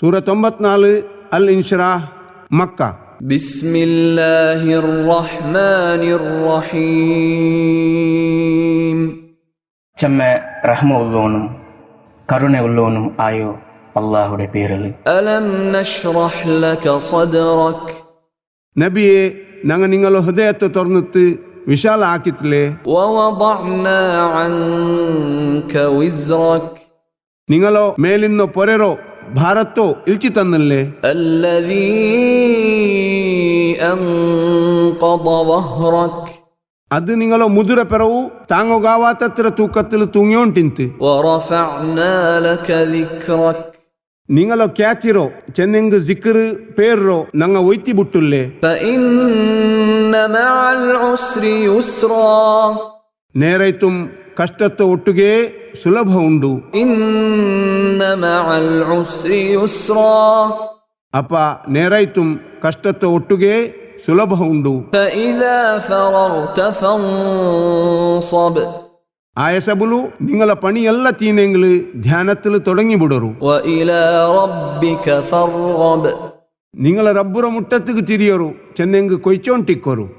ಸೂರತ್ ತೊಂಬತ್ನಾಲು ಅಲ್ ಇನ್ಶರಾ ಮಕ್ಕಾ بسم الله الرحمن الرحيم செம்ம ரஹ்ம உள்ளோனும் கருணை உள்ளோனும் ஆயோ அல்லாஹுடைய பேரலு ألم نشرح لك صدرك ನಬಿಯೇ ನಂಗ ನಿಂಗಲು ಹೃದಯತ್ತು ತೊರ್ನಿತ್ತು ವಿಶಾಲ ಆಕಿತ್ಲೆ ووضعنا عنك وزرك ನಿಂಗಲೋ ಮೇಲಿನ ಪೊರೆರೋ ಭಾರತ್ತೋ ಇಲ್ಚಿ ತನ್ನಲ್ಲೆ الذي أنقض ظهرك ಅದು ನಿಂಗಲೋ ಮುದುರ ಪೆರವು ತಾಂಗೊಗಾವಾತತ್ರ ತೂಕತ್ತಲು ತೂಂಗ್ಯೋಂಟಿಂತು ورفعنا لك ذكرك ನಿಂಗಲೋ ಖ್ಯಾತಿರೋ ಚೆನ್ನಿಂಗ್ ಜಿಕ್ರು ಪೇರ್ರೋ ನಂಗ ಒಯ್ತಿ ಬುಟ್ಟುಲ್ಲೆ فإن مع العسر يسرا ನೇರೈತುಂ ಕಷ್ಟತ್ತು ಒಟ್ಟುಗೆ ಸುಲಭ ಉಂಡು إن مع العسر يسرا ಅಪ ನೇರೈತುಂ ಕಷ್ಟತ್ತು ಒಟ್ಟುಗೆ ಸುಲಭ ಉಂಡು فإذا فرغت فانصب ആയസബുലു നിങ്ങളെ പണിയല്ല തീനെങ്കില് ധ്യാനത്തിൽ തുടങ്ങിവിടരു وإلى ربك فارغب നിങ്ങളെ റബ്ബുറ മുട്ടത്തുക്ക് തിരിയറു ചെന്നെങ്ക് കൊയ്ച്ചോണ്ടിക്കൊരു